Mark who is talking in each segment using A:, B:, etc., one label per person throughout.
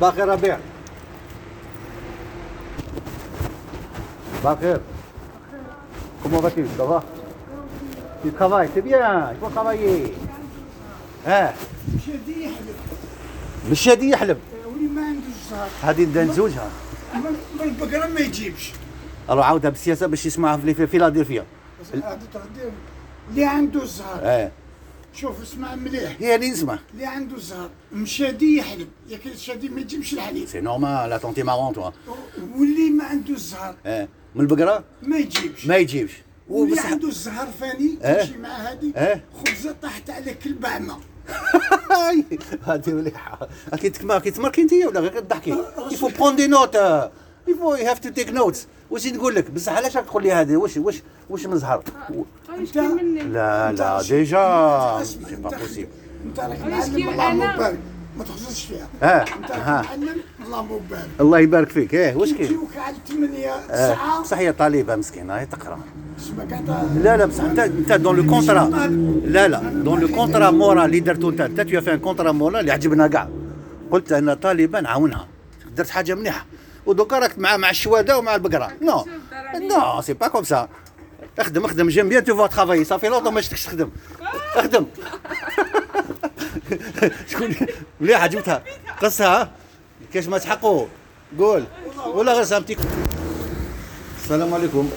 A: باقي ربيع Bakir. Comment vas-tu Ça va Tu travailles, c'est bien, il faut travailler. اه
B: مشى دي يحلف
A: مش هادي يحلم
B: ولي ما عندوش زهر
A: هادي نبدا نزوجها
B: من البقرة ما يجيبش
A: راه عاودها بالسياسه باش يسمعها في في فيلادلفيا
B: بس هذا تقدير اللي عنده الزهر
A: اه
B: شوف اسمع مليح
A: هي اللي نسمع
B: اللي عنده الزهر مشادي يحلب ياك الشادي ما يجيبش الحليب
A: سي نورمال لا تونتي مارون توا
B: واللي ما عنده الزهر
A: اه من البقره
B: ما يجيبش
A: ما يجيبش
B: واللي
A: وبصح
B: عنده الزهر فاني
A: اه.
B: تمشي مع هادي
A: اه.
B: خبزه طاحت على كلب اعمى
A: هادي مليحه كي تكمر كي تمركي انت ولا غير تضحكي يفو بروند دي نوت يفو يو هاف تو تيك نوتس واش نقول لك بصح علاش راك تقول لي هذا واش واش واش مزهر
B: انت
A: لا
B: انت
A: لا
B: عش-
A: ديجا
B: انت
A: سي
B: اسمع،
A: با
B: انت-
A: بوسيبل
B: انت راك
C: علاش
B: معلم
C: كيما
B: الله
C: انا؟
B: مبارك ما تخزنش فيها
A: اه
B: انت راك
A: ها
B: معلم الله مبارك
A: الله يبارك فيك ايه واش كاين
B: يجيوك على 8
A: آه،
B: ساعة
A: بصح هي طالبه مسكينه هي تقرا
B: اسمك انت
A: لا لا بصح انت انت دون لو كونترا لا لا دون لو كونترا مورا اللي درتو انت انت تو فان كونترا مورا اللي عجبنا كاع قلت انا طالبه نعاونها درت حاجه مليحه ودوكا راك مع مع الشواده ومع البقره نو نو سي با كوم سا اخدم اخدم جيم بيان تو فوا ترافاي صافي لونتون ما شفتكش تخدم اخدم شكون مليحه جبتها قصها كاش ما تحقوا قول ولا غير سامتي السلام عليكم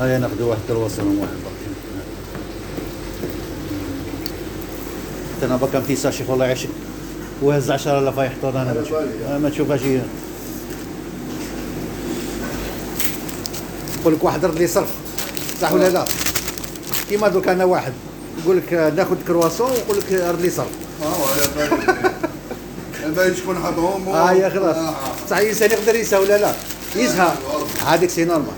A: هيا ناخذ آه، واحد تروس انا واحد برك. حتى انا بكا امتيسا شوف والله يعيشك وهز 10000 هاي يحطون انا ما تشوف- أنا ما تشوفهاش هي يقول لك واحد رد لي صرف صح ولا لا كيما درك انا واحد يقول لك آه، ناخذ كرواسون ويقول لك آه، رد لي صرف
D: هو على
B: tá
D: بالي
B: É
D: على بالي شكون حطهم
A: اه يا خلاص صح الانسان يقدر ينسى ولا لا يزهى هذيك سي نورمال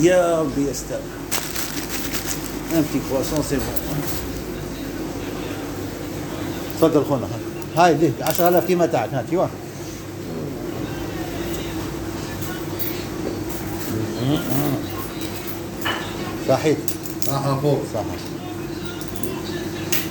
A: يا ربي يستر ان بتي كرواسون سي بون تفضل خونا هاي ديك 10000 كيما تاعك هات ايوا صحيح
D: صح فوق
A: صحيح